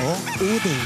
og Odin.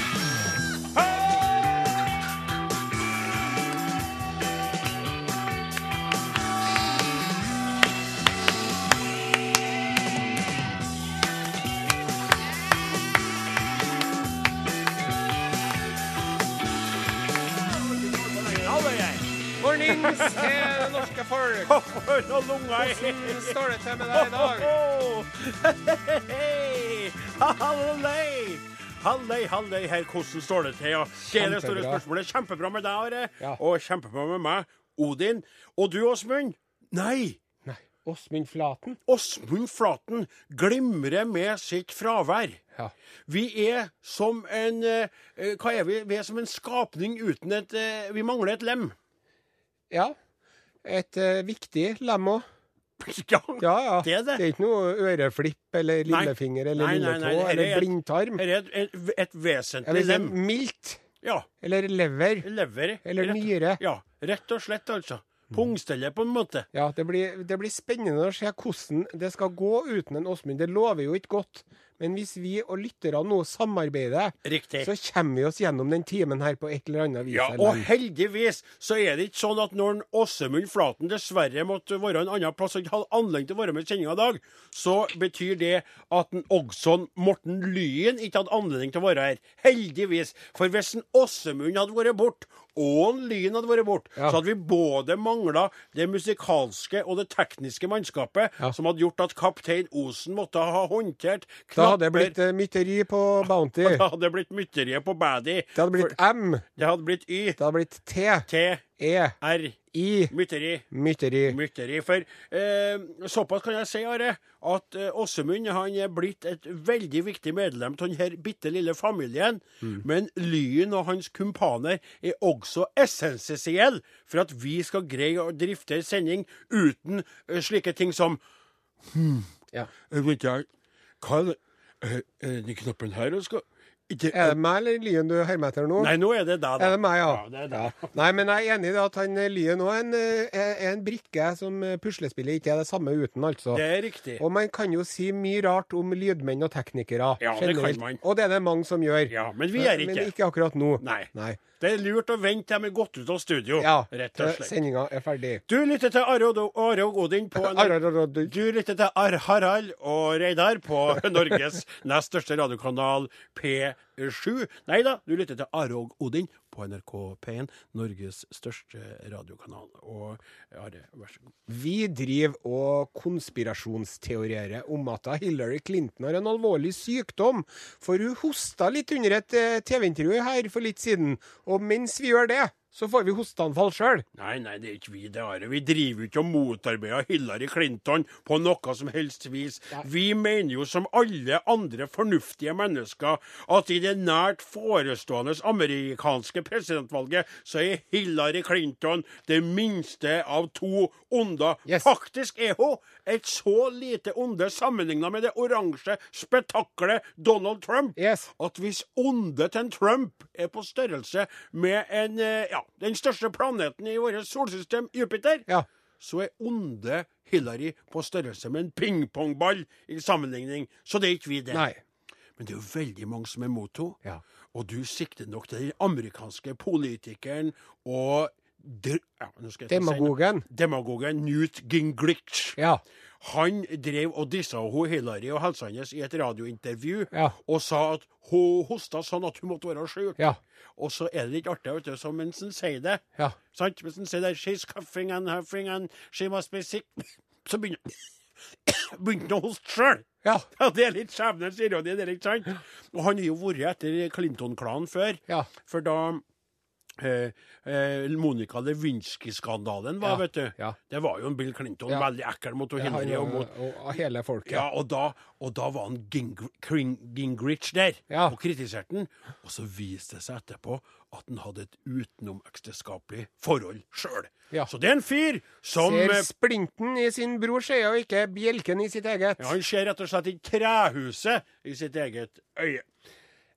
Mornings til det norske folk. Hvordan eh, står det til med deg i dag? Hei! Hallei! Hallei, hallei, her, hvordan står det til? Ja, det er det store Kjempebra. spørsmålet. Kjempebra med deg, Are. Ja. Og kjempebra med meg, Odin. Og du, Åsmund? Nei! Nei, Åsmund Flaten? Åsmund Flaten glimrer med sitt fravær. Ja. Vi er som en eh, eh, Hva er vi? Vi er som en skapning uten et eh, Vi mangler et lem. ja. Et eh, viktig lem òg. Ja, Ja, ja. det er det. er ikke noe øreflipp eller Nei. lillefinger eller Nei, nei, nei, lilletå det her er eller et- blindtarm. Her er et, et, et vesentlig Eller lem. milt. Ja. Eller lever. Lever. Eller rett- nyre. Mm. Ja, rett og slett, altså. Pungstellet, på en måte. Ja, det blir, det blir spennende å se hvordan det skal gå uten en Åsmund. Det lover jo ikke godt. Men hvis vi og lytterne nå samarbeider, Riktig. så kommer vi oss gjennom den timen her på et eller annet vis. ja, eller og annet. heldigvis så er det ikke sånn at når en Åsemund Flaten dessverre måtte være en annen plass og ikke hadde anledning til å være med i sendinga i dag, så betyr det at en Ogson Morten Lyen ikke hadde anledning til å være her. Heldigvis. For hvis en Åsemund hadde vært bort, og en Lyen hadde vært bort, Ja. så hadde vi både mangla det musikalske og det tekniske mannskapet Ja. som hadde gjort at kaptein Osen måtte ha håndtert Da hadde det knapper- blitt eh, mytteri på Bounty. Det hadde blitt mytteriet på baddie. Det hadde blitt M. Det hadde blitt Y, Det hadde blitt T. T, E. R, I. mytteri. Mytteri. Mytteri. For eh, såpass kan jeg si, Are, at eh, Åsemund han er blitt et veldig viktig medlem av denne bitte lille familien. Mm. Men Lyn og hans kumpaner er også essensiell for at vi skal greie å drifte en sending uten eh, slike ting som Ja. eh, vet jeg, Hva er det eh, er det den knappen her? og Skal, det, Er det meg eller Lyen du hermer etter nå? Nei, nå er det deg, da. Er det meg, ja? det er deg. Nei, men jeg er enig i det at han eh, Lyen òg er, en, eh, er- er en brikke som eh, puslespillet ikke er det samme uten, altså. Det er riktig. Og man kan jo si mye rart om lydmenn og teknikere. Ja, det kan generelt. man. Og det er det mange som gjør. Eh, Ja, men vi gjør Men ikke. ikke akkurat nå. Nei. Nei. Det er lurt å vente til de er gått ut av studio, Ja, rett og slett. Sendinga er ferdig. Du lytter til Are og, Are og Odin på en- Arararadu. Du lytter til Ar Harald og Reidar på Norges nest største radiokanal P7. Nei da, du lytter til Are og Odin på NRK P1, Norges største radiokanal. Og Are, vær så god. Vi driver og konspirasjonsteorierer om at da Hillary Clinton har en alvorlig sykdom, for hun hosta litt under et eh, TV-intervju her for litt siden. Og mens vi gjør det, så får vi hosteanfall sjøl. Nei, nei, det er ikke vi, det Are. Vi driver jo ikke og motarbeider Hillary Clinton på noe som helst vis. Vi mener jo som alle andre fornuftige mennesker at i det nært forestående amerikanske presidentvalget så er Hillary Clinton det minste av to onder. Yes. Faktisk er hun et så lite onde sammenligna med det oransje spetakkelet Donald Trump Yes. at hvis åndet til en Trump er på størrelse med en, eh, ja, den største planeten i vårt solsystem, Jupiter, Ja. så er åndet Hillary på størrelse med en pingpongball i sammenligning. Så det er ikke vi, det. Nei. Men det er jo veldig mange som er mot henne. Ja. Og du sikter nok til den amerikanske politikeren og dr- ja, nå skal jeg ikke si noe. Demagogen. Demagogen Newt Gingrich. Ja. Han drev og dissa hun Hillary og helsa hennes i et radiointervju Ja. og sa at hun hosta sånn at hun måtte være sjuk. Ja. Og så er det litt artig, vet du, så mens han sier det Ja. sant? Mens han sier det, she's coughing and huffing and she must be sick, så begynner begynte han å hoste sjøl. Ja. Ja, det er litt skjebnens ironi, det er ikke sant? Og han har jo vært etter Clinton-klanen før, Ja. for da eh, eh, Monica Lewinsky-skandalen var, Ja, vet du. ja. Det var jo en Bill Clinton, Ja. veldig ekkel mot Hillary Han og mot og, og hele folket. ja, og da, og da var han Gingr- Kring- Gingrich der Ja. og kritiserte han. Og så viste det seg etterpå at han hadde et utenomekteskapelig forhold sjøl. Ja. Så det er en fyr som Ser eh, splinten i sin brors øye og ikke bjelken i sitt eget. ja, Han ser rett og slett ikke trehuset i sitt eget øye.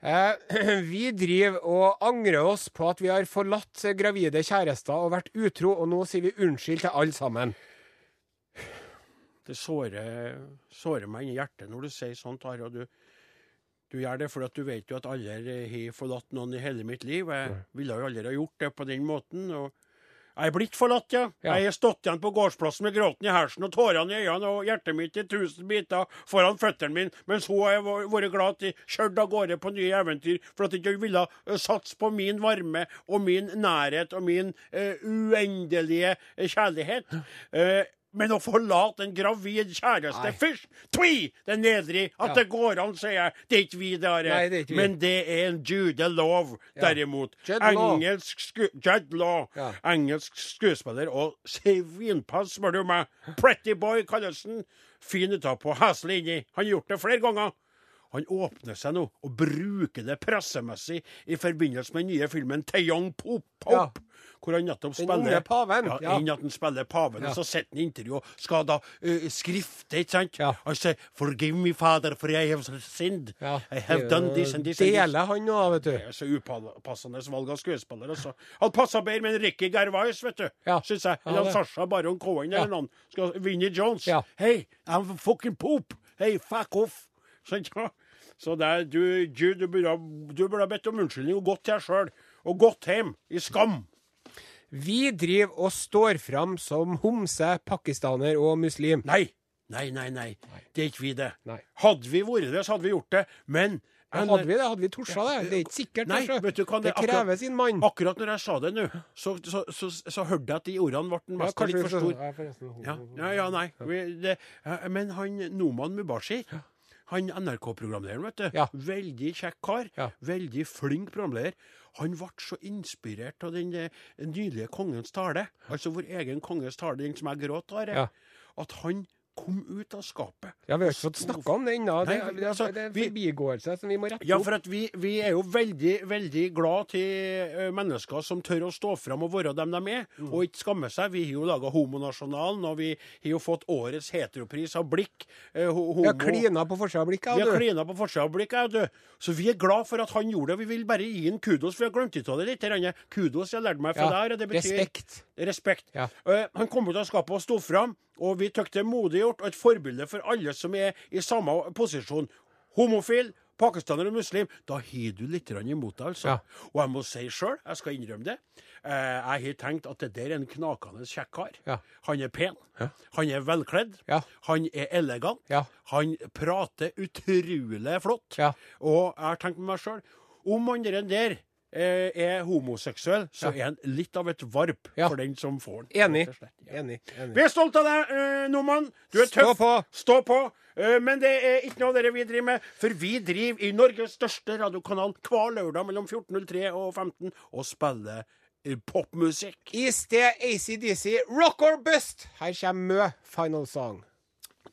Eh, vi driver og angrer oss på at vi har forlatt gravide kjærester og vært utro, og nå sier vi unnskyld til alle sammen. Det sårer, sårer meg inn i hjertet når du sier sånt, Are. og Du, Du gjør det fordi at du vet jo at alle her har forlatt noen i hele mitt liv. Jeg ville jo aldri ha gjort det på den måten. og jeg er blitt forlatt, ja. Ja. Jeg har stått igjen på gårdsplassen med gråten i hersen og tårene i øynene og hjertet mitt i tusen biter foran føttene mine, mens hun har væ- vært glad til kjørt av gårde på nye eventyr for at hun ikke ville eh, satse på min varme og min nærhet og min eh, uendelige eh, kjærlighet. Eh, men å forlate en gravid kjæreste Nei. først, tvi! Det er nedrig at Ja. det går an, sier jeg. Det er ikke vi, det Nei, det er ikke vi. Men det er en Jude Love, Ja. derimot. Jude Law. Engelsk sku Jude Law. Ja. Engelsk skuespiller og svinpass, spør du meg. Pretty boy kalles han. Fin utapå, heslig inni. Han har gjort det flere ganger. Han åpner seg nå og bruker det pressemessig i forbindelse med den nye filmen Teyong Pop, Ja. Pop hvor han nettopp Den spiller unge paven, Ja, ja. inn at han spiller paven, og så sitter han i intervju og skal da eh, skrifte, ikke sant? Ja. Og sier 'Forgive me, Father, for I have sinned'. Ja. I have done this and this and this. Deler han nå, vet du. Det er så upassende valg av skuespiller. Altså. Han passa bedre med en Ricky Gervais, vet du. Ja. Syns jeg. Ja, Eller det. ja, Sasha Baron Cohen Ja. eller noen. Skal Vinnie Jones. Ja. Hei, I'm a fucking poop. Hei, fuck off. Så, ja. så der, du, du, du, burde, ha- du burde ha bedt om unnskyldning og gått til deg sjøl. Og gått hjem i skam. Vi driver og står fram som homse, pakistaner og muslim. Nei. Nei, nei, nei. Det er ikke vi, det. Nei. Hadde vi vært det, så hadde vi gjort det. Men Ja, hadde vi det? Hadde vi torsa det? Det er ikke sikkert. Nei, kanskje. vet du hva, det det er akkurat- krever sin mann. Akkurat når jeg sa det nå, så, så, så, så, hørte jeg at de ordene ble Ja, mest litt vi for skal- store. Ja, forresten. Ja, ja, ja nei. Vi- Det, ja, men han Noman Mubashir, han NRK-programlederen, vet du. Ja. Veldig kjekk kar. Ja. Veldig flink programleder. Han ble så inspirert av den eh, nydelige kongens tale, altså vår egen konges tale, den som jeg gråt av, Ja. at han kom ut av skapet. Ja, vi har ikke fått snakka om det ennå. Det, Nei, det, er- altså, det er en vi- forbigåelse som vi må rette Ja, opp. for at vi, vi er jo veldig, veldig glad til eh, mennesker som tør å stå fram og være dem de er, og ikke skamme seg. Vi har jo laga Homonasjonalen, og vi har jo fått årets heteropris av Blikk. eh, ho- Vi har homo- klina på forsida av blikket. vi har du. klina på forsida av blikket, jeg, vet du. Så vi er glad for at han gjorde det. Vi vil bare gi han kudos. Vi har glemt ut av det litt. grann. Kudos jeg lærte meg fra Ja, der. og Det betyr respekt. Respekt. Ja. Eh, han kom ut av skapet og sto fram, og vi tykte det er modig gjort, og et forbilde for alle som er i samme posisjon. Homofil, pakistaner og muslim. Da har du litt grann imot deg, altså. Ja. Og jeg må si sjøl, jeg skal innrømme det, eh, jeg har tenkt at det der er en knakende kjekk kar. Ja. Han er pen. Han er velkledd. Ja. Han er elegant. Ja. Han prater utrolig flott. Ja. Og jeg har tenkt med meg sjøl om han der, der eh, er homoseksuell, så er han litt av et varp Ja. for den som får den. Enig. rett og slett. Ja. Enig. Vi enig. er stolt av deg, eh, Noman. Du er Stå tøff. på. Stå på. Eh, men det er ikke noe av det vi driver med, for vi driver i Norges største radiokanal hver lørdag mellom 14.03 og 15 og spiller eh, popmusikk. I sted ACDC, rock or bust! Her kommer Mø, final song.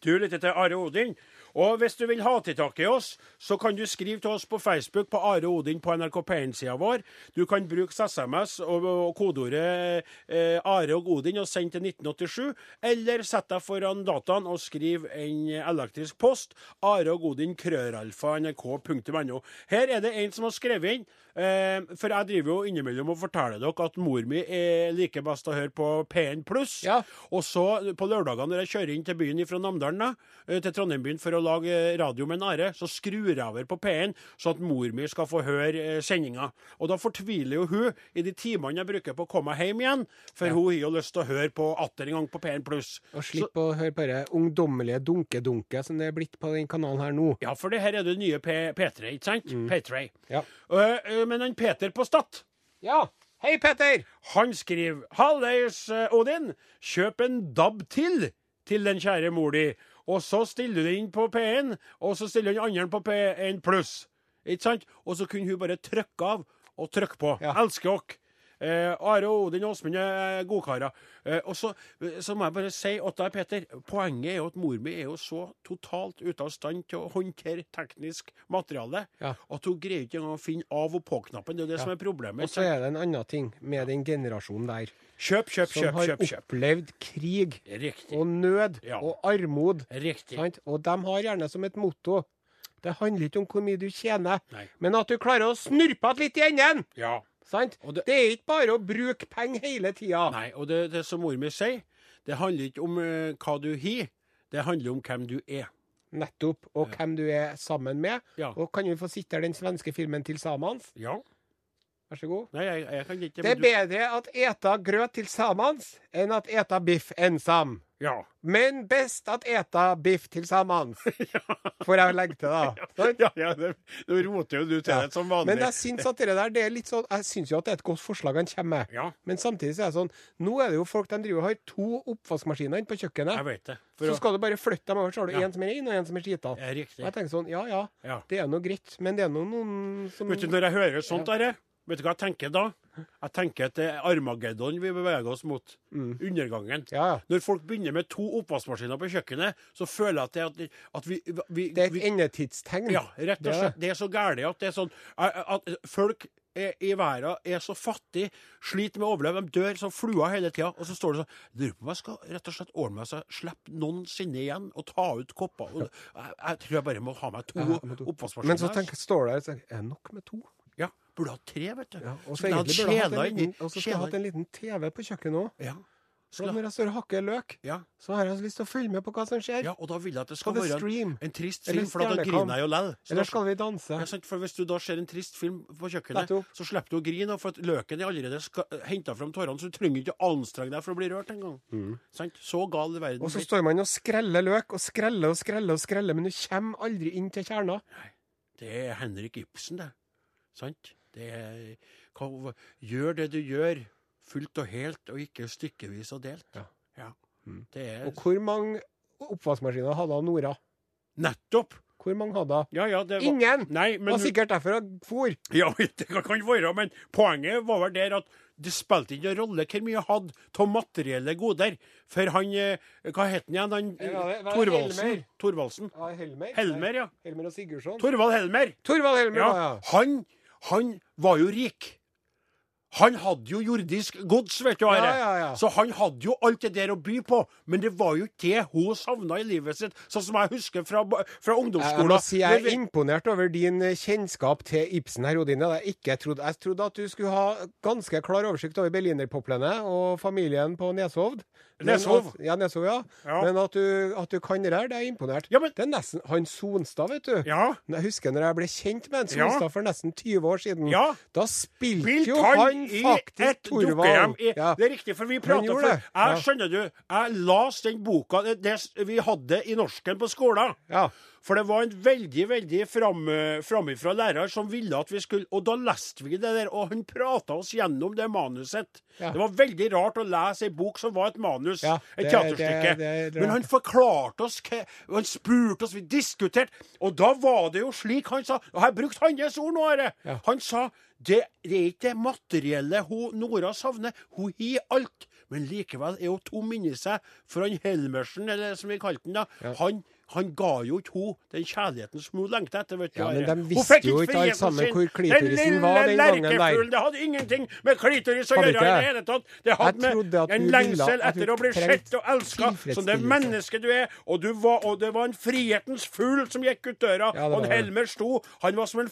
Du lytter til Are Odin. Og hvis du vil ha til tak i oss, så kan du skrive til oss på Facebook på Are Odin på NRK P1-sida vår. Du kan bruke SMS og, og kodeordet eh, Are og Odin og sende til 1987. Eller sett deg foran dataen og skriv en elektrisk post. Are og Odin krøralfa nrk.no. Her er det en som har skrevet inn. Eh, for jeg driver jo innimellom og forteller dere at mor mi eh, liker best å høre på P1 pluss. Ja. Og så på lørdagene når jeg kjører inn til byen fra Namdalen, da, eh, til Trondheim byen for å lage eh, radio med en Are, så skrur jeg over på P1, sånn at mor mi skal få høre eh, sendinga. Og da fortviler jo hun i de timene jeg bruker på å komme hjem igjen, for hun har jo lyst til å høre på atter en gang på P1 pluss. Og slipp å høre på det ungdommelige dunke-dunke som det er blitt på den kanalen her nå. Ja, for det her er det nye P P3, ikke sant? P3. Mm. Ja. Eh, eh, men han Peter på Stad Ja. Hei, Petter! Han skriver Halleis, eh, Odin. Kjøp en DAB til til den kjære mor di. Og så stiller du den inn på P1, og så stiller den andre på P1 pluss. Ikke sant? Og så kunne hun bare trykke av og trykke på. Ja. Elsker dere. Eh, Are og Odin og Åsmund er godkarer. Eh, og så, så må jeg bare si at da, Peter, poenget er jo at mor mi er jo så totalt ute av stand til å håndtere teknisk materiale Ja. at hun greier ikke engang å finne av- og på-knappen. Det er jo det som er problemet. Og så er det en annen ting med den generasjonen der, Kjøp, kjøp, som kjøp, har kjøp, kjøp. opplevd krig Riktig. og nød Ja. og armod. Riktig. Sant? Og de har gjerne som et motto Det handler ikke om hvor mye du tjener, Nei. men at du klarer å snurpe igjen litt i enden! Ja. Sant? Og Det... det- er ikke bare å bruke penger hele tida. Nei, og det, det som mor mi sier, det handler ikke om eh, hva du har, det handler om hvem du er. Nettopp. Og hvem du er sammen med. Ja. Og kan vi få sitte her den svenske filmen tilsammans? Ja. Vær så god. Nei, jeg, jeg kan ikke Det er men du- bedre at eta grøt tilsammans enn at eta biff ensam. Ja. Men best at eta biff tilsammans. Får jeg legge til, da. Sant? Ja, ja, det- Nå roter jo du til det som vanlig. Men jeg syns at det der det er litt sånn Jeg syns jo at det er et godt forslag han kommer med. Ja. Men samtidig så er det sånn Nå er det jo folk de driver og har to oppvaskmaskiner inne på kjøkkenet. Jeg vet det. For Så å- skal du bare flytte dem over, så har du Ja. én som er inn, og én som er skita. Ja, riktig. Og jeg tenker sånn, ja ja, Ja. det er nå greit, men det er nå noen som Vet du, Når jeg hører sånt, Are, vet du hva jeg tenker da? Jeg tenker at det er Armageddon vi beveger oss mot. Undergangen. Ja, ja. Når folk begynner med to oppvaskmaskiner på kjøkkenet, så føler jeg at, det, at, at vi, vi, Det er et vi endetidstegn. Ja, rett Det og er slett. Det er så gærent at det er sånn at at folk er, i verden er så fattige, sliter med å overleve, de dør som fluer hele tida. Og så står det sånn Jeg lurer på om jeg skal rett og slett ordne meg så jeg slipper noensinne igjen å ta ut kopper. Og, jeg, jeg tror jeg bare må ha meg to oppvaskmaskiner. Men så tenker, står det her og tenker, er det nok med to? Ja, burde ha tre, vet du. Ja, og så Skulle ha egentlig burde jeg hatt en kjeler liten, inni- og så skulle jeg hatt kjeler- en liten TV på kjøkkenet òg. ja. Så når jeg står og hakker løk, Ja. så har jeg så lyst til å følge med på hva som skjer. ja, og da vil jeg at det skal Skal det være en, stream? en trist Eller film, for da Stjernekamp? griner jeg jo lell. Så da- Eller skal vi danse? Ja, sant, for Hvis du da ser en trist film på kjøkkenet, Nettopp. så slipper du å grine, for at løken er allerede henta fram tårene, så du trenger ikke å anstrenge deg for å bli rørt engang. Sant? Så gal er verden. Mm. Og så står man og skreller løk, og skreller og skreller, og skreller, men du kommer aldri inn til kjerna. Det er Henrik Ibsen, det. Sant? Det er, hva, hva- gjør det du gjør, fullt og helt, og ikke stykkevis og delt. Ja. Mm. Det er Og hvor mange oppvaskmaskiner hadde han Nora? nettopp! Hvor mange hadde hun? Ja, ja, det var Ingen! Nei, men Det var sikkert derfor hun for. Ja, det kan være, men poenget var vel der at det spilte ikke noen rolle hvor mye jeg hadde av materielle goder. For han eh, Hva het han igjen? Han, eh, Ja, det var Thorvaldsen. Helmer. Thorvaldsen. Ja, Helmer. Helmer, ja. Helmer og Sigurdsson. Thorvald Helmer. Torvald Helmer, Ja, da, ja. han, han var jo rik. Han hadde jo jordisk gods, vet du, Are. Ja, ja, ja. Så han hadde jo alt det der å by på. Men det var jo ikke det hun savna i livet sitt, sånn som jeg husker fra, fra Jeg, jeg ungdomsskolen. må si jeg Når er vi- imponert over din eh, kjennskap til Ibsen her, Odin. Det hadde Jeg, ikke trodd. jeg trodde at du skulle ha ganske klar oversikt over berlinerpoplene og familien på Neshovd. Men Neshov? at- Ja, Neshov, ja. Ja. Men at du, at du kan det der, det er jeg imponert. Ja, men- Det er nesten Han Sonstad, vet du. Ja. Jeg husker når jeg ble kjent med en Ja. Sonstad for nesten 20 år siden. Ja. Da spilte Bilt jo han, han i faktisk et dukkehjem. Torvald. I, Ja. Det er riktig, for vi Han prater gjorde for det, ja. Jeg skjønner du, jeg las den boka det, det s- vi hadde i norsken på skolen. Ja. For det var en veldig veldig fram, framifra lærer som ville at vi skulle Og da leste vi det der, og han prata oss gjennom det manuset. Ja. Det var veldig rart å lese ei bok som var et manus, Ja, et det- teaterstykke. det- det- det- Men han forklarte oss hva og Han spurte oss, vi diskuterte. Og da var det jo slik han sa Og jeg brukte hans ord nå, Are. Ja. Han sa det, det er ikke det materielle hun Nora savner, hun har alt. Men likevel er hun tom inni seg, for han Helmersen, eller som vi kalte han da, han, han ga jo ikke hun den kjærligheten som hun lengta etter. vet du. Ja, men Are. de Hun visste fikk jo ikke alle friheten sammen sin. hvor klitorisen var den Den gangen der. lille lerkefuglen, det hadde ingenting med klitoris å Hadde gjøre i ikke det det? hele tatt. Det Jeg hadde trodde at med en du ville- lengsel at du etter å bli trengte sett og elska som det tilfredsstillelse. mennesket du er. Og, du var, og det var en frihetens fugl som gikk ut døra. Ja, det og var en det. Helmer sto. Han var som en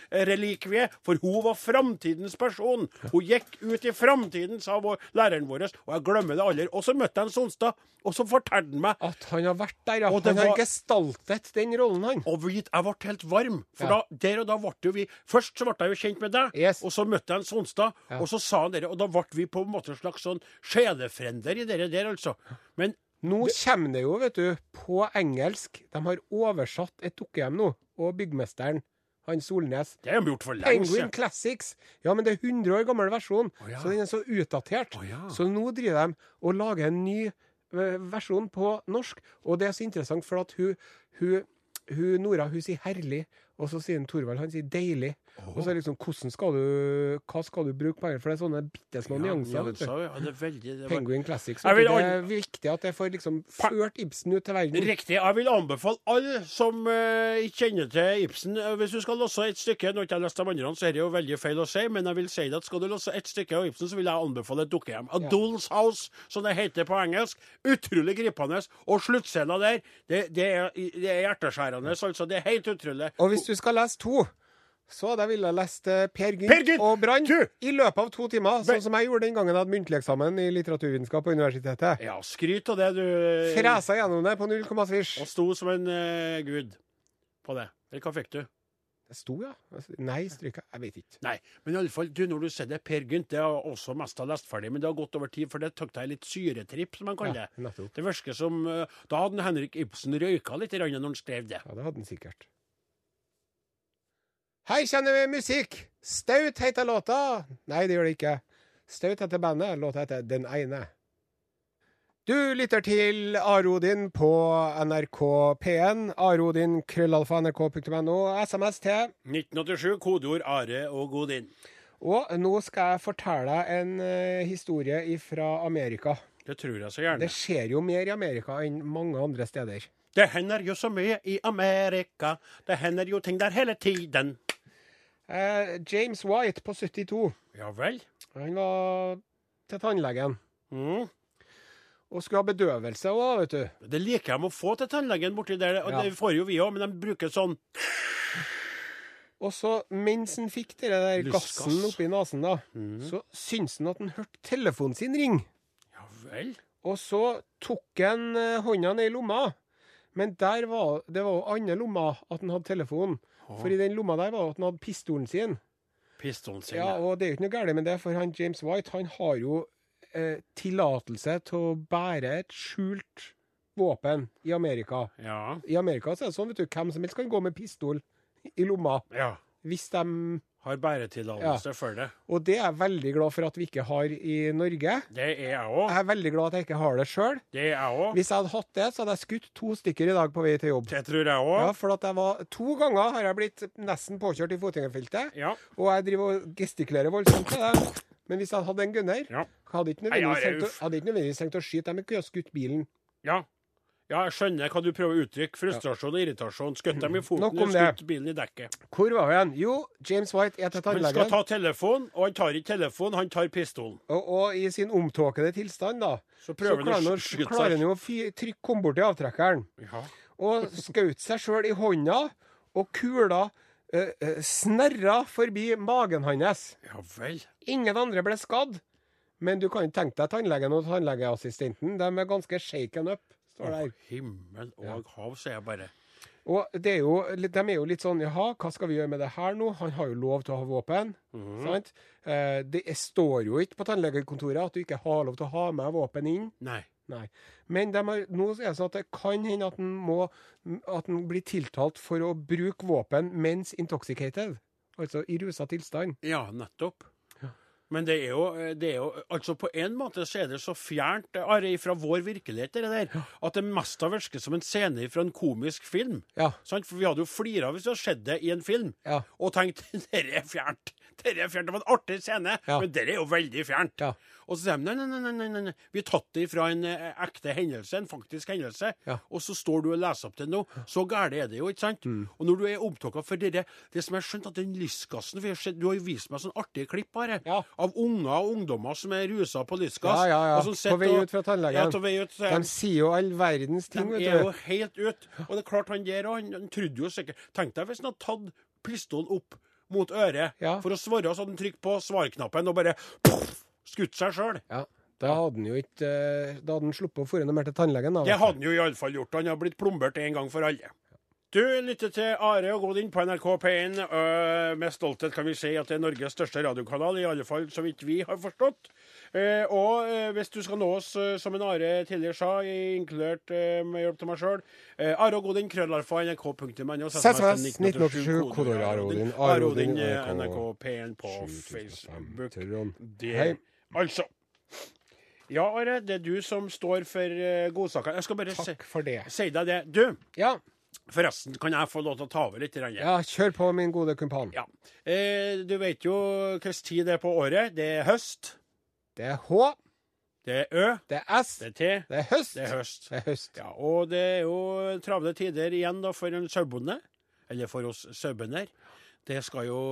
fortidsrelikvie, for hun var framtidens person. Hun gikk ut i framtiden, sa vår, læreren vår, og jeg glemmer det aldri. Og så møtte jeg en Sonstad, og så fortalte han meg At han har vært der, ja. Og det Han har var- gestaltet den rollen, han. og vi, jeg ble helt varm. For da, Ja. der og da ble jo vi Først så ble jeg jo kjent med deg, Yes. og så møtte jeg en Sonstad, og så sa han dere, og da ble vi på en måte en slags sånn sjelefrender i dere der, altså. Men Nå kommer det jo, vet du, på engelsk. De har oversatt et dukkehjem nå. Og byggmesteren, han Solnes. det har de gjort for lenge Penguin siden. Classics. Ja, men det er 100 år gammel versjon, ja. så den er så utdatert. Å, ja. Så nå driver de og lager en ny eh, versjon på norsk. Og det er så interessant, for at hun, hun, hun Nora hun sier 'herlig', og så sier hun Thorvald han sier 'deilig'. Og så er det liksom hvordan skal du, Hva skal du bruke på her? For det er sånne bitte små nyanser. Ja, vet du. nyanser, ja, det er veldig, det var... Penguin Classics. Jeg vil vet du. Det er viktig at det får liksom ført Ibsen ut til verden. Riktig. Jeg vil anbefale alle som eh, ikke kjenner til Ibsen eh, Hvis du skal losse et stykke Nå har ikke jeg lest de andre, så er det jo veldig feil å si, men jeg vil si det at skal du losse et stykke av Ibsen, så vil jeg anbefale et dukkehjem. A Doll's House, som det heter på engelsk. Utrolig gripende. Og sluttscenen der, det, det, er, det er hjerteskjærende. Altså, det er helt utrolig. Og hvis du skal lese to, Så hadde jeg villet lest eh, Per Per Gynt Gynt! og Brann Du! i løpet av to timer, sånn som jeg gjorde den gangen jeg hadde muntlig eksamen i litteraturvitenskap på universitetet. Ja, skryt av det, du. Fresa gjennom det på null komma svisj. Og sto som en eh, gud på det. Eller hva fikk du? Det sto, ja. Altså, Nei, stryka. Jeg vet ikke. Nei, men i alle fall, du, når du ser det, Per Gynt, det har jeg også mest av lest ferdig, men det har gått over tid, for det tok deg litt syretripp, som man kaller Ja, det. nettopp. Det virker som eh, Da hadde Henrik Ibsen røyka litt grann når han skrev det. Ja, det hadde den sikkert. Her kjenner vi musikk! Staut heter låta. Nei, det gjør det ikke. Staut heter bandet. Låta heter Den ene. Du lytter til Are-Odin på NRK P1. Are-Odin, krøllalfa, nrk.no. SMS til 1987, kodeord Are og Godin. Og nå skal jeg fortelle deg en eh, historie fra Amerika. Det tror jeg så Det gjerne. skjer jo mer i Amerika enn mange andre steder. Det hender jo så mye i Amerika. Det hender jo ting der hele tiden. Eh, James White på 72, Ja vel? han var til tannlegen Mm. og skulle ha bedøvelse òg, vet du. Det liker de å få til tannlegen borti der. Og Ja. Det får jo vi òg, men de bruker sånn Og så, mens han fikk den der Lystgass. gassen oppi nesen, da, så syntes han at han hørte telefonen sin ringe. Ja vel? Og så tok han eh, hånda ned i lomma. Men der var, det var jo andre lomma at han hadde telefonen. For i den lomma der var det at han hadde pistolen sin. Pistolen sin. Ja, Ja, og det er jo ikke noe galt med det, for han James White han har jo eh, tillatelse til å bære et skjult våpen i Amerika. ja. I Amerika så er det sånn, vet du, hvem som helst kan gå med pistol i lomma ja. hvis de Har bæretillatelse for det. Og det er jeg veldig glad for at vi ikke har i Norge. Det er jeg òg. Jeg er veldig glad at jeg ikke har det sjøl. Det er jeg òg. Hvis jeg hadde hatt det, så hadde jeg skutt to stykker i dag på vei til jobb. Det tror jeg Ja, òg. for at jeg var To ganger har jeg blitt nesten påkjørt i fotgjengerfeltet. Ja. Og jeg driver og gestikulerer voldsomt til det. Men hvis jeg hadde hatt en gunner Ja. Hadde ikke Nei, ja, jeg nødvendigvis er tenkt å, uff. hadde ikke nødvendigvis tenkt å skyte dem, jeg kunne ha skutt bilen. ja. Ja, jeg skjønner hva du prøver å uttrykke. Frustrasjon og irritasjon. Skutt dem i foten Nok og om det. skutt bilen i dekket. Hvor var vi hen? Jo, James White er til Han skal tannlegen. ta telefonen, og han tar ikke telefonen, han tar pistolen. Og, og i sin omtåkede tilstand, da, Så så prøver han å klarer han å- sk- skyte klarer seg. han jo å fy- trykke- komme bort til avtrekkeren. Ja. Og skjøt seg sjøl i hånda, og kula eh, eh, snerra forbi magen hans. ja vel. Ingen andre ble skadd. Men du kan ikke tenke deg tannlegen og tannlegeassistenten. De er ganske shaken up, står det her. Himmel og hav, sier jeg bare. Og det er jo, litt- de er jo litt sånn Jaha, hva skal vi gjøre med det her nå? Han har jo lov til å ha våpen. Sant? Eh, det er- står jo ikke på tannlegekontoret at du ikke har lov til å ha med våpen inn. Nei. Nei. Men de har, nå er det sånn at det kan hende at en må At en blir tiltalt for å bruke våpen mens intoxicated. Altså i rusa tilstand. Ja, nettopp. Men det er, jo, det er jo Altså, på en måte så er det så fjernt Are, fra vår virkelighet, det der, at det mest har virket som en scene fra en komisk film. Ja. Sant? For vi hadde jo flira hvis det hadde skjedd det i en film, Ja. og tenkt dette er fjernt. Dette er fjernt. Det var en artig scene, Ja. men dette er jo veldig fjernt. Ja. Og så sier de nei, nei, nei, nei, nei, nei. vi har tatt det fra en eh, ekte hendelse, en faktisk hendelse, Ja. og så står du og leser opp det nå. Så gærent er det jo, ikke sant? Mm. Og når du er opptatt for det, det som jeg har skjønt, at den lystgassen for jeg har sett- Du har jo vist meg sånne artige klipp bare, Ja. av unger og ungdommer som er rusa på lystgass. Ja, ja, ja. og som sitter På vei og- ut fra tannlegen. Ja, på vei ut. så er De de- sier jo all verdens ting, de vet er jo du. helt ut. Og det er klart han der og han, han trodde jo sikkert Tenk deg hvis han hadde tatt pistolen opp mot øret Ja. for å svare, så hadde han trykt på svarknappen og bare skutt seg sjøl. Ja. Da hadde han jo ikke eh, Da hadde han sluppet å dra noe mer til tannlegen, da. Det hadde han jo iallfall gjort. Han har blitt plombert en gang for alle. Du lytter til Are og Godin på NRK P1. Øh, Med stolthet kan vi si at det er Norges største radiokanal, i alle fall så vidt vi har forstått. Eh, Og eh, hvis du skal nå oss, eh, som en Are tidligere sa, inkludert eh, med hjelp av meg sjøl Are og Godin, krøllalfa, nrk.no. SMS 1987, kodeord Are Odin, Are Odin, Are eh, Odin, NRK P1 på Facebook. Trond. Det, Hei. Altså. Ja, Are, det er du som står for eh, godsakene. Jeg skal bare si, Takk for det. si deg det. Du, Ja. forresten, kan jeg få lov til å ta over litt? grann? ja, kjør på, min gode kumpan. Ja. Eh, du vet jo hvilken tid det er på året. Det er høst, Det er H, det er ø, det er S, det er te, det er høst. det er høst. Det er høst. Ja, og det er jo travle tider igjen da for en sauebonde, eller for oss sauebønder. Det skal jo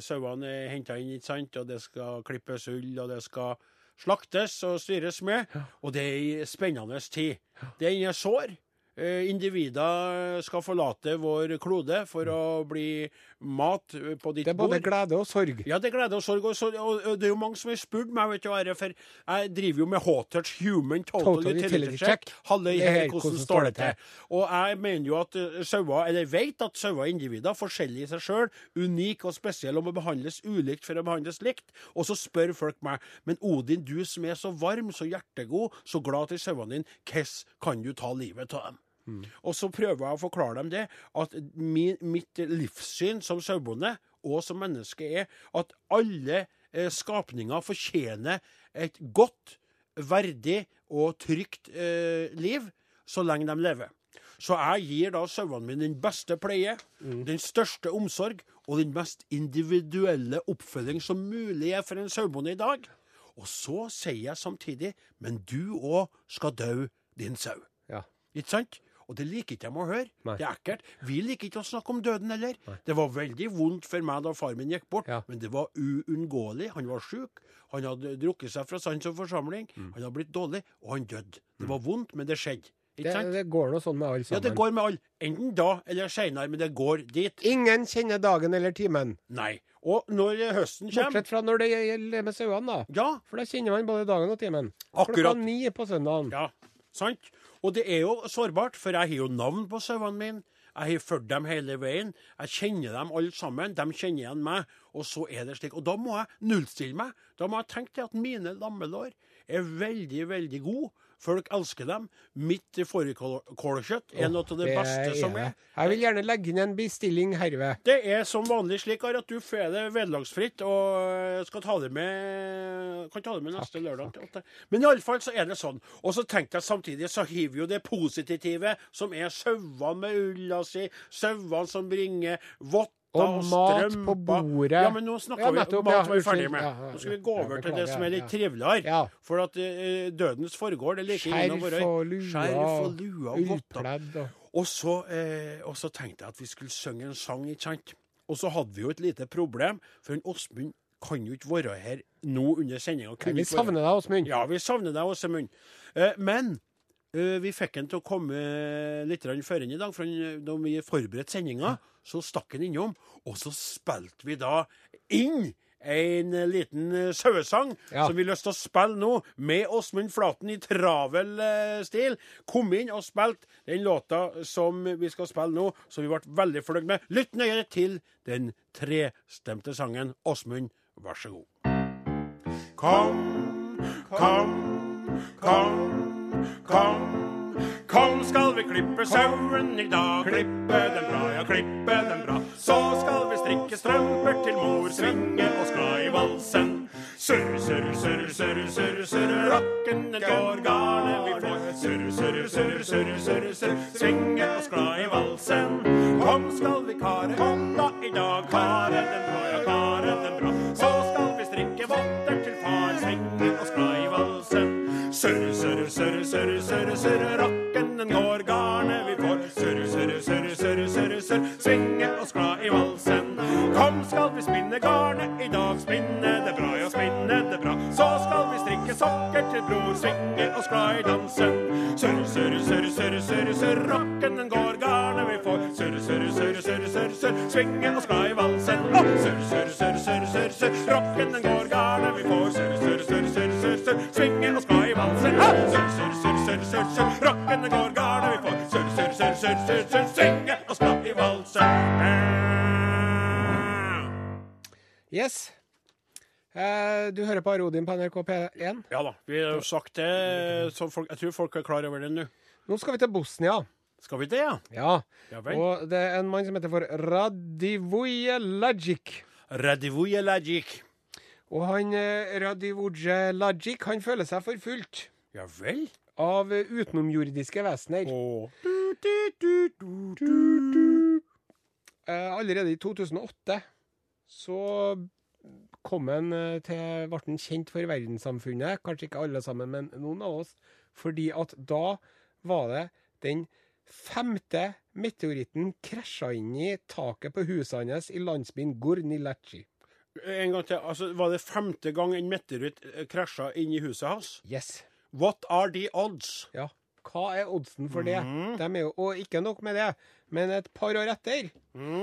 sauene er henta inn, ikke sant, og det skal klippes ull, og det skal slaktes og styres med. Og det er ei spennende tid. Det er inne sår. eh, individer skal forlate vår klode for å bli mat eh, på ditt Mm. Det er bord. både glede og sorg. Ja, det er glede og sorg. Og, sorg, og, og det er jo mange som har spurt meg, vet du, Are, for jeg driver jo med Hawtouch Human Total, Total Utility Utility Check. Check. Halløy, Det er hei, helt hvordan hvordan står det til? Og jeg mener jo at eh, sauer, eller vet at sauer er individer, forskjellige i seg sjøl, unike og spesielle, og må behandles ulikt for å behandles likt. Og så spør folk meg, men Odin, du som er så varm, så hjertegod, så glad til sauene dine, hvordan kan du ta livet av dem? Og så prøver jeg å forklare dem det, at mi, mitt livssyn som sauebonde og som menneske er at alle eh, skapninger fortjener et godt, verdig og trygt eh, liv så lenge de lever. Så jeg gir da sauene mine den beste pleie, den største omsorg og den mest individuelle oppfølging som mulig er for en sauebonde i dag. Og så sier jeg samtidig, men du òg skal dø, din sau. Ja. Ikke sant? Og det liker ikke de å høre. Nei. Det er ekkelt. Vi liker ikke å snakke om døden heller. Det var veldig vondt for meg da far min gikk bort, Ja. men det var uunngåelig. Han var sjuk. Han hadde drukket seg fra sans og forsamling. Mm. Han hadde blitt dårlig, og han døde. Det var vondt, men det skjedde. Ikke Det, sant? det går nå sånn med alle Ja, det sammen. går med alle. Enten da eller seinere, men det går dit. Ingen kjenner dagen eller timen, Nei. Og når eh, høsten kommer bortsett fra når det gjelder med sauene, da. Ja, For da kjenner man både dagen og timen. Akkurat. Klokka ni på søndagen. Ja, sant? Og det er jo sårbart, for jeg har jo navn på sauene mine. Jeg har ført dem hele veien. Jeg kjenner dem alle sammen. De kjenner igjen meg. Og så er det slik. Og da må jeg nullstille meg. Da må jeg tenke til at mine lammelår er veldig, veldig gode. Folk elsker dem. Mitt fårikålkjøtt er noe av det beste som er. Jeg vil gjerne legge inn en bestilling herved. Det er som vanlig slik Are, at du får det vederlagsfritt og eh, skal ta det med kan ta det med neste lørdag. til åtte. Men iallfall så er det sånn. Og så tenkte jeg samtidig så har vi jo det positive, som er sauene med ulla si, sauene som bringer votter Og og, mat på strømper. bordet. Ja, men nå snakker Ja, vi nettopp, mat ja, var vi ferdig unnskyld. med. Ja, ja, Nå skal vi ja. gå Ja, over til det beklager, som er litt ja. triveligere. Ja. For at eh, dødens foregår, det liker ingen av våre. Skjerf og lua. Skjerf og lua og votter. ullpledd og Og så, eh, og så tenkte jeg at vi skulle synge en sang, ikke sant? Og så hadde vi jo et lite problem, for en Åsmund kan jo ikke være her nå under sendinga. Vi savner deg, Åsmund. Ja, vi savner deg, Åsemund. Eh, men eh, vi fikk han til å komme litt grann før inn i dag, for han, eh, da vi forberedte sendinga, så stakk han innom. Og så spilte vi da inn en liten eh, sauesang Ja. som vi har lyst til å spille nå, med Åsmund Flaten i travel eh, stil. Kom inn og spilte den låta som vi skal spille nå, som vi ble veldig fornøyd med. Lytt nøye til den trestemte sangen. Åsmund, vær så god. Kom, kom, kom, kom. Kom skal vi klippe sauen i dag. Klippe den bra, ja, klippe den bra. Så skal vi strikke strømper til mor, svinge oss glad i valsen. Surre, surre, surre, surre, surre, surre, rocken den går gale vi får. Surre, surre, surre, surre, surre, surre, svinge oss glad i valsen. Kom skal vi kare hånda i dag, kare den bra, ja, kare den bra. Så skal vi strikke votter til far, svinge oss glad i valsen. Surre, surre, surre, surre, surre, surre, rocken den går garnet vi får. Surre, surre, surre, surre, surre, surre, svinge oss glad i valsen. Kom, skal vi spinne garnet i dag, spinne det bra, ja, spinne det bra. Så skal vi strikke sokker til bror, svinge oss glad i dansen. Surre, surre, surre, surre, surre, surre, rocken den går garnet vi får. Surre, surre, surre, surre, surre, surre, svinge oss glad i valsen. Å, Surre, surre, surre, surre, surre, surre, rocken den går garnet vi får. Surre, surre, surre, surre, surre, surre, svinge oss glad i valsen. Å, Surre, surre, surre, surre, surre, surre, rocken den går garnet vi får. Surre, surre, surre, surre, surre, surre, svinge oss glad i valsen. Yes. Eh, du hører på Arodin på NRK P1. Ja da, vi har jo sagt det, så folk, jeg tror folk er klar over det nå. Nå skal vi til Bosnia. Skal vi det, ja? Ja. Ja vel. Og det er en mann som heter for Radivoje Lagic. Radivoje Lagic. Og han eh, Radivoje Lagic han føler seg forfulgt Ja vel? av eh, utenomjordiske vesener. Og Eh, allerede i 2008 så kom han eh, til Ble han kjent for verdenssamfunnet, kanskje ikke alle sammen, men noen av oss, fordi at da var det den femte meteoritten krasja inn i taket på huset hans i landsbyen Gurnilachi. en gang til, altså var det femte gang en meteoritt eh, krasja inn i huset hans? Yes. What are the odds? Ja. Hva er oddsen for det? De er jo, og ikke nok med det, men et par år etter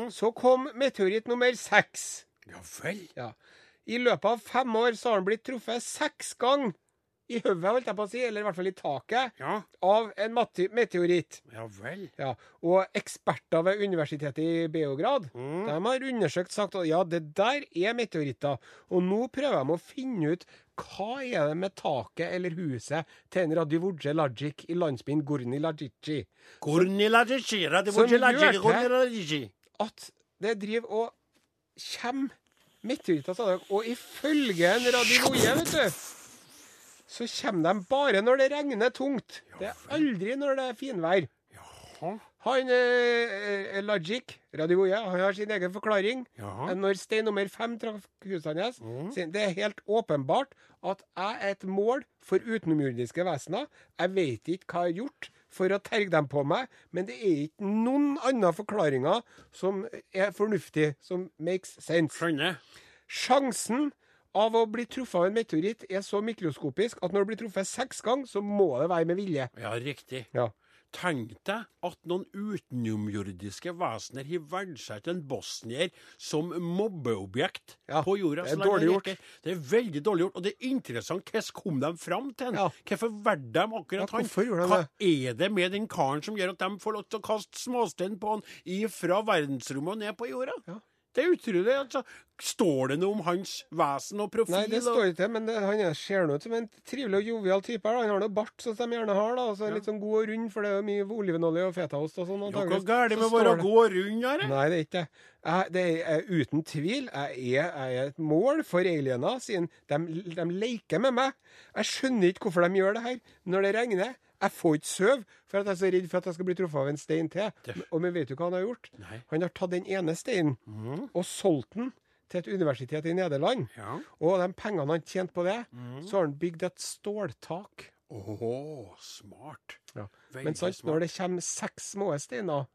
så kom meteoritt nummer seks. Ja vel. Ja. I løpet av fem år så har han blitt truffet seks ganger i hodet, holdt jeg på å si, eller i hvert fall i taket, Ja, av en mate- meteoritt. ja vel. Ja, Og eksperter ved universitetet i Beograd de har undersøkt sagt at ja, det der er meteoritter. Og nå prøver de å finne ut hva er det med taket eller huset til en Radivuje Lajic i landsbyen Gurni Lajici Korniladjikira, det Som var ikke hørte- lajik, korniladjiki. at det driver og kommer meteoritter, sa dere. Og ifølge en radioie, vet du, så kommer de bare når det regner tungt. Det er aldri når det er finvær. Jaha. Han eh, eh, Lajik, radioie, han har sin egen forklaring. Jaha. Men Eh, Når stein nummer fem traff huset hans, sier han, det er helt åpenbart at jeg er et mål for utenomjordiske vesener. Jeg vet ikke hva jeg har gjort for å terge dem på meg, men det er ikke noen andre forklaringer som er fornuftig, som makes sense. Skjønner. Sjansen av å bli truffet av en meteoritt er så mikroskopisk at når du blir truffet seks ganger, så må det være med vilje. Ja, riktig. Ja. Tenk deg at noen utenomjordiske vesener har verdsatt en bosnier som mobbeobjekt Ja, på jorda. det er Så lenge dårlig gjort. ikke- Det er veldig dårlig gjort. Og det er interessant hvordan kom de fram til han? Ja. Hvorfor valgte de akkurat Ja, han? hvorfor gjorde de Hva er det med den karen som gjør at de får lov til å kaste småstein på han ifra verdensrommet og ned på jorda? Ja. Det er utrolig. altså. Står det noe om hans vesen og profil? Nei, det og- står ikke det, men det, han er- ser nå ut som en trivelig og jovial type. her, da. Han har noe bart, sånn som de gjerne har. da, og så er han Litt sånn god og rund, for det er jo mye olivenolje og fetaost og sånn. Jo, Hva antageligvis. gærent med Så å være står det- gå rundt her? eh? Nei, det er ikke det. Jeg, det er uten tvil. Jeg er, jeg er et mål for aliener, siden de, de leker med meg. Jeg skjønner ikke hvorfor de gjør det her. Når det regner, jeg får ikke sove, for at jeg er så redd for at jeg skal bli truffet av en stein til. Og men vet du hva han har gjort? Nei. Mhm. Han har tatt den ene steinen og solgt den til et universitet i Nederland. Ja. Og de pengene han tjente på det, Mhm. så har han bygd et ståltak. Åh, smart. Veldig Men sant, smart. når det kommer seks små steiner,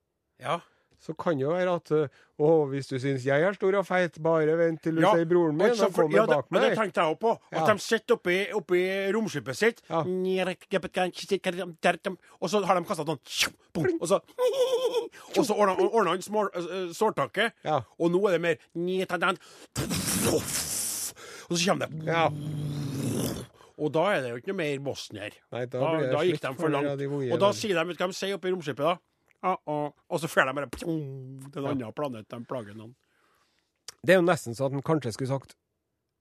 Ja. så kan det jo være at ø, Å, hvis du syns jeg er stor og feit, bare vent til du ser broren min, og så og for- kommer ja, det- bak men Det meg. tenkte jeg òg på. At Ja. de sitter oppe i- oppe i romskipet sitt, Ja. og så har de kasta sånn tjopp, boom, Og så Og så ordna ordna han små- eh, sårtaket, Ja. og nå er det mer Og så kommer det Ja. Og da er det jo ikke noe mer bosnier. Nei, da da, blir det da gikk slutt de for for langt. Radio Voie, Og da da. sier de, vet du hva de sier oppe i romskipet da? Ah, ah. Og så får de bare til en annen planet de plager noen. Det er jo nesten så at han kanskje skulle sagt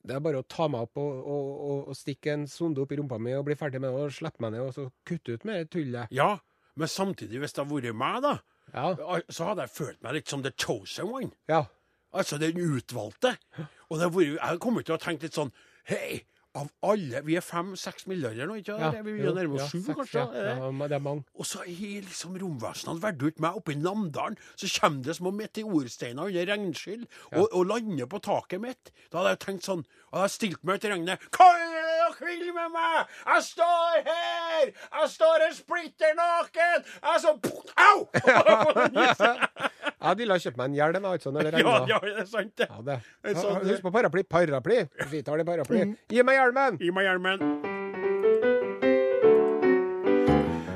det er bare å ta meg opp og, og, og, og stikke en sonde opp i rumpa mi og bli ferdig med det, og slippe meg ned og så kutte ut med det tullet. Ja, men samtidig, hvis det hadde vært meg, da, Ja. al- så hadde jeg følt meg litt som the chosen one. ja. Altså den utvalgte. Og det hadde vært, jeg kommer til å tenke litt sånn Hei, av alle Vi er fem-seks milliarder nå, ikke ja. sant? Vi begynner å nærme ja, oss sju, seks, kanskje? ja. er det? Ja, men det er mange. Og så er liksom romvesenene valgt ut meg oppe i Namdalen. Så kommer det små meteorsteiner under regnskyll og, og lander på taket mitt. Da hadde jeg tenkt sånn Og hadde jeg stilt meg ut i regnet. Hva er det dere vil med meg? Jeg står her! Jeg står her splitter naken! Jeg så Au! Jeg hadde villet kjøpt meg en hjelm jeg, altså, når ja, det regner. ja, det er sant, det. Ja, det. En Ja, sånn- husk på paraply. Paraply! Vi tar det paraply. Gi meg hjelmen! Gi meg hjelmen.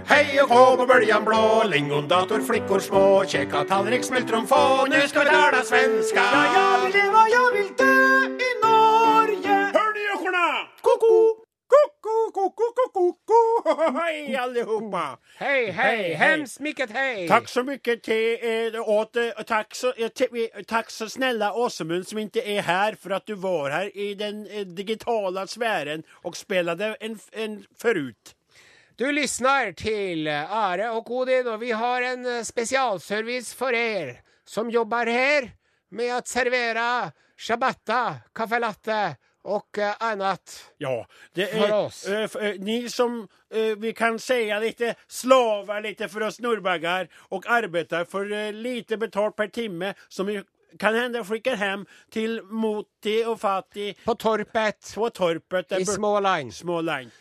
Hei og hå på bøljan blå, lingondator, flickor små, kjekka tallrik, smultron få, nu ska vi tala svenska. Ja, jag vill leva, jag vill dö i Norge. Hör ni ekorna? Koko! Koko, koko, koko, koko. Hej allihopa. Hei, hei, Hei, hei. hems, mikket, hei! Tack så mycket till er åt eh, och tack så, eh, till, eh, tack så snälla Åsemund som inte är här för att du var här i den eh, digitala sfären och spelade en, en förut. Du lyssnar till Are och Odin och vi har en eh, specialservice för er som jobbar här med att servera ciabatta, kaffe latte och eh, annat. Ja, det är, För oss. eh, f- eh, ni som eh, vi kan säga lite slavar lite för oss norrbaggar och arbetar för eh, lite betalt per timme som vi kan hända skickar hem till Moti och Fatti På torpet på torpet där i Småland. Småland.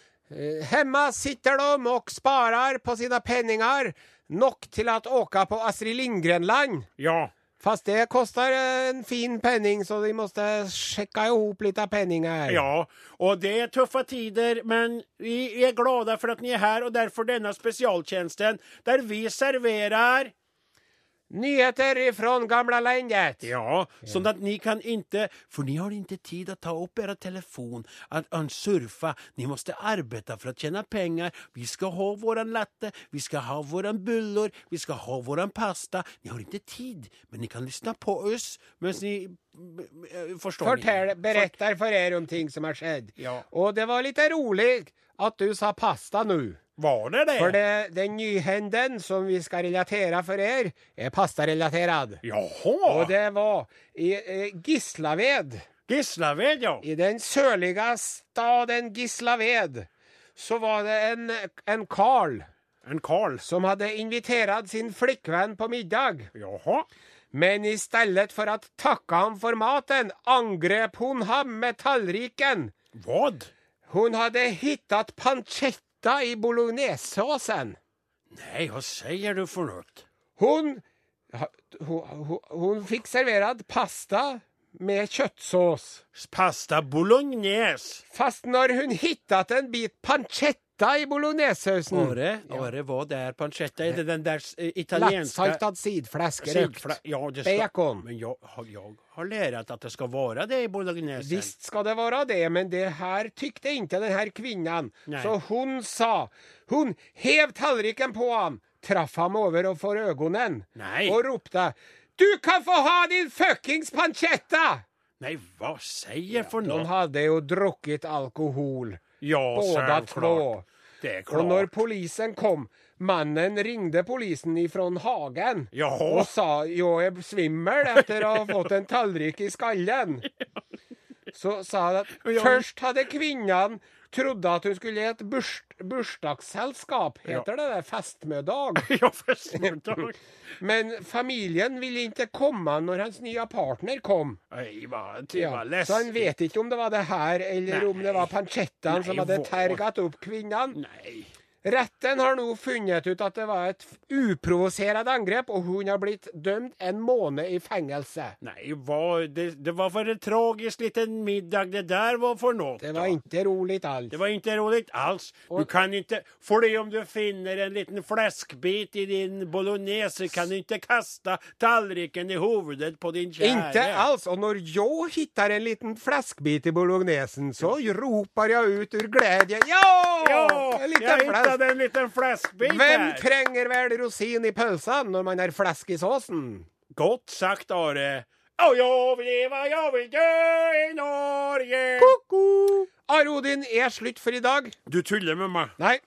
Eh, Hemma sitter de och sparar på sina penningar nog till att åka på Astrid Lindgren-land Ja. Fast det koster en fin penning, så de måtte sjekke i hop litt av penninger. Ja, og det er tøffe tider, men vi er glade for at ni er her, og derfor denne spesialtjenesten der vi serverer Nyheter ifrån gamla landet. Ja, sånn at ni kan ikke For ni har ikke tid å ta opp deres telefon, at å surfa. Ni måste arbeide for å tjene penger. Vi skal ha vår latte, vi skal ha våre buller, vi skal ha vår pasta. Ni har ikke tid, men ni kan lyssna på oss mens ni eh, Forstår Fortell, ni? beretter for er om ting som har skjedd. Ja. Og det var litt rolig at du sa pasta nå. Var det det? For det, den nyhenden som vi skal relatere for er, er pastarelatert. Jaha! Og det var i eh, Gislaved. Gislaved, ja. I den sørlige staden Gislaved så var det en, en Carl En Karl. som hadde invitert sin flikkvenn på middag. Jaha. Men i stedet for at takke ham for maten, angrep hun ham med tallriken. Vad? Hun hadde hittat pancetta i bolognesesåsen. Nej, vad säger du för något? Hun, hun, hun, hun fikk servert pasta med kjøttsås. Pasta bolognese. Fast når hun hittet en bit pancetta i bolognesesausen Are, Are, vad är pancetta? Är det den där eh, italienska... Lettsaltet sidflesk røkt. Sidfla- Ja, det ska... Bacon. Men jag, har- jag har lärt att det ska vara det i bolognesen. Visst skal det være det, men det her tykte ikke den her kvinnen. Nei. Så hun sa Hun hev tallriken på ham, traff ham over og for øynene, Nei. og ropte Du kan få ha din fuckings pancetta! Nej, vad säger för Hun något? hadde jo drukket alkohol. Ja, Båda två. självklart. Det är Og når klart. polisen kom, mannen ringte polisen ifra hagen og Jaha. sa jo jeg er svimmel etter å ha fått en tallrik i skallen. Så sa han at Ja. først hadde kvinnen trodde at hun skulle i et burs bursdagsselskap, heter det det, festmiddag. Jag förstår. Men familien ville ikke komme når hans nye partner kom. Nej, vad det Ja. var Så han läskigt. vet ikke om det var det her, eller om det var pancettaen som Nei, hadde hvor- terget opp kvinnen. Nej. Retten har nå funnet ut at det var et uprovoserende angrep, og hun har blitt dømt en måned i fengelse. Nej, vad, det, det var för en tragisk liten middag det där var för något. Det då. var ikke rolig alt. Det var inte roligt alls. Du Och- kan inte, för det om du finner en liten fläskbit i din bolognese så kan du inte kasta tallriken i huvudet på din käre. Ikke alls. Og når jeg finner en liten fleskbit i bolognesen, så roper jeg ut ur glede Ja! Ja, En jag liten flesk. hittade en liten fläskbit Hvem här. trenger vel rosin i pølsa når man har flesk i såsen? Gott sagt Are. Ja, jag vill leva, jag vill dö i Norge. Ko-ko! Arodin er slutt for i dag. Du tuller med meg. Nei.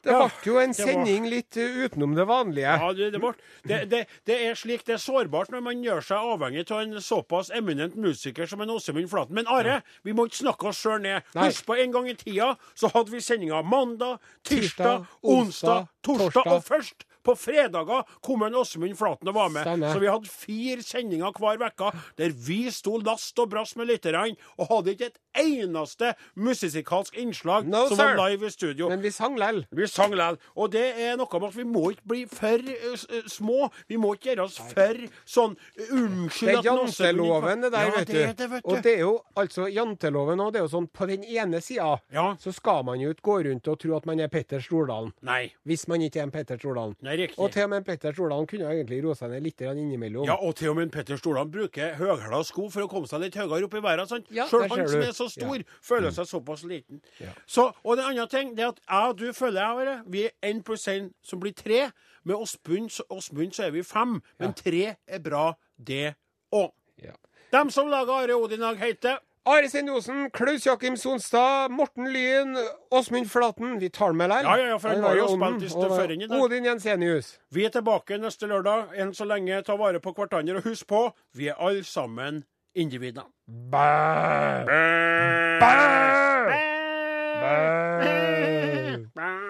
Det Ja, ble jo en det var- sending litt uh, utenom det vanlige. Ja, det, det, var- det, det, det er slik det er sårbart når man gjør seg avhengig av en såpass eminent musiker som en Åsemund Flaten. Men Are, vi må ikke snakke oss sjøl ned. Nei. Husk på en gang i tida så hadde vi sendinger mandag, Tirsdag, tirsdag, onsdag, torsdag, torsdag. og først på fredager kom en Åsemund Flaten og var med. Stemmer. Så vi hadde fire sendinger hver uke der vi sto last og brast med lytterne og hadde ikke et eneste musikalsk innslag No, som sir. var live i studio. Men vi sang lell. Vi sang likevel. Og det er noe med at vi må ikke bli for eh, s- eh, små. Vi må ikke gjøre oss for sånn eh, Det Unnskyld er janteloven, det der, ja, vet, det, er du. det, vet du. Og det er jo altså janteloven òg. Det er jo sånn på den ene sida Ja. så skal man jo ikke gå rundt og tro at man er Petter Stordalen. Nei. Hvis man ikke er en Petter Stordalen. Nei, riktig. Og til og med Petter Stordalen kunne jo egentlig roe seg ned litt grann innimellom. Ja, og til og med Petter Stordalen bruker høyhæla sko for å komme seg litt høyere opp i verden. Sant? Ja, Sjøl der ser han som du. er så stor, Ja. Mm. føler seg såpass liten. Så, og det andre ting det er at jeg og du føler jeg Are, vi er én pluss én som blir tre. Med Åsmund så, Åsmund så er vi fem. Men tre er bra, det òg. Ja. Dem som lager Are Odin i dag, heter Are Sendosen, Klaus Jakim Sonstad, Morten Lyen, Åsmund Flaten. Vi tar med lell. Ja, ja, ja, for han var jo ånden, spaltist og før inn i dag. Odin Jensenius. Vi er tilbake neste lørdag. Enn så lenge, ta vare på hverandre. Og husk på, vi er alle sammen individer. Bæ! Bæ! Bæ! Bæ!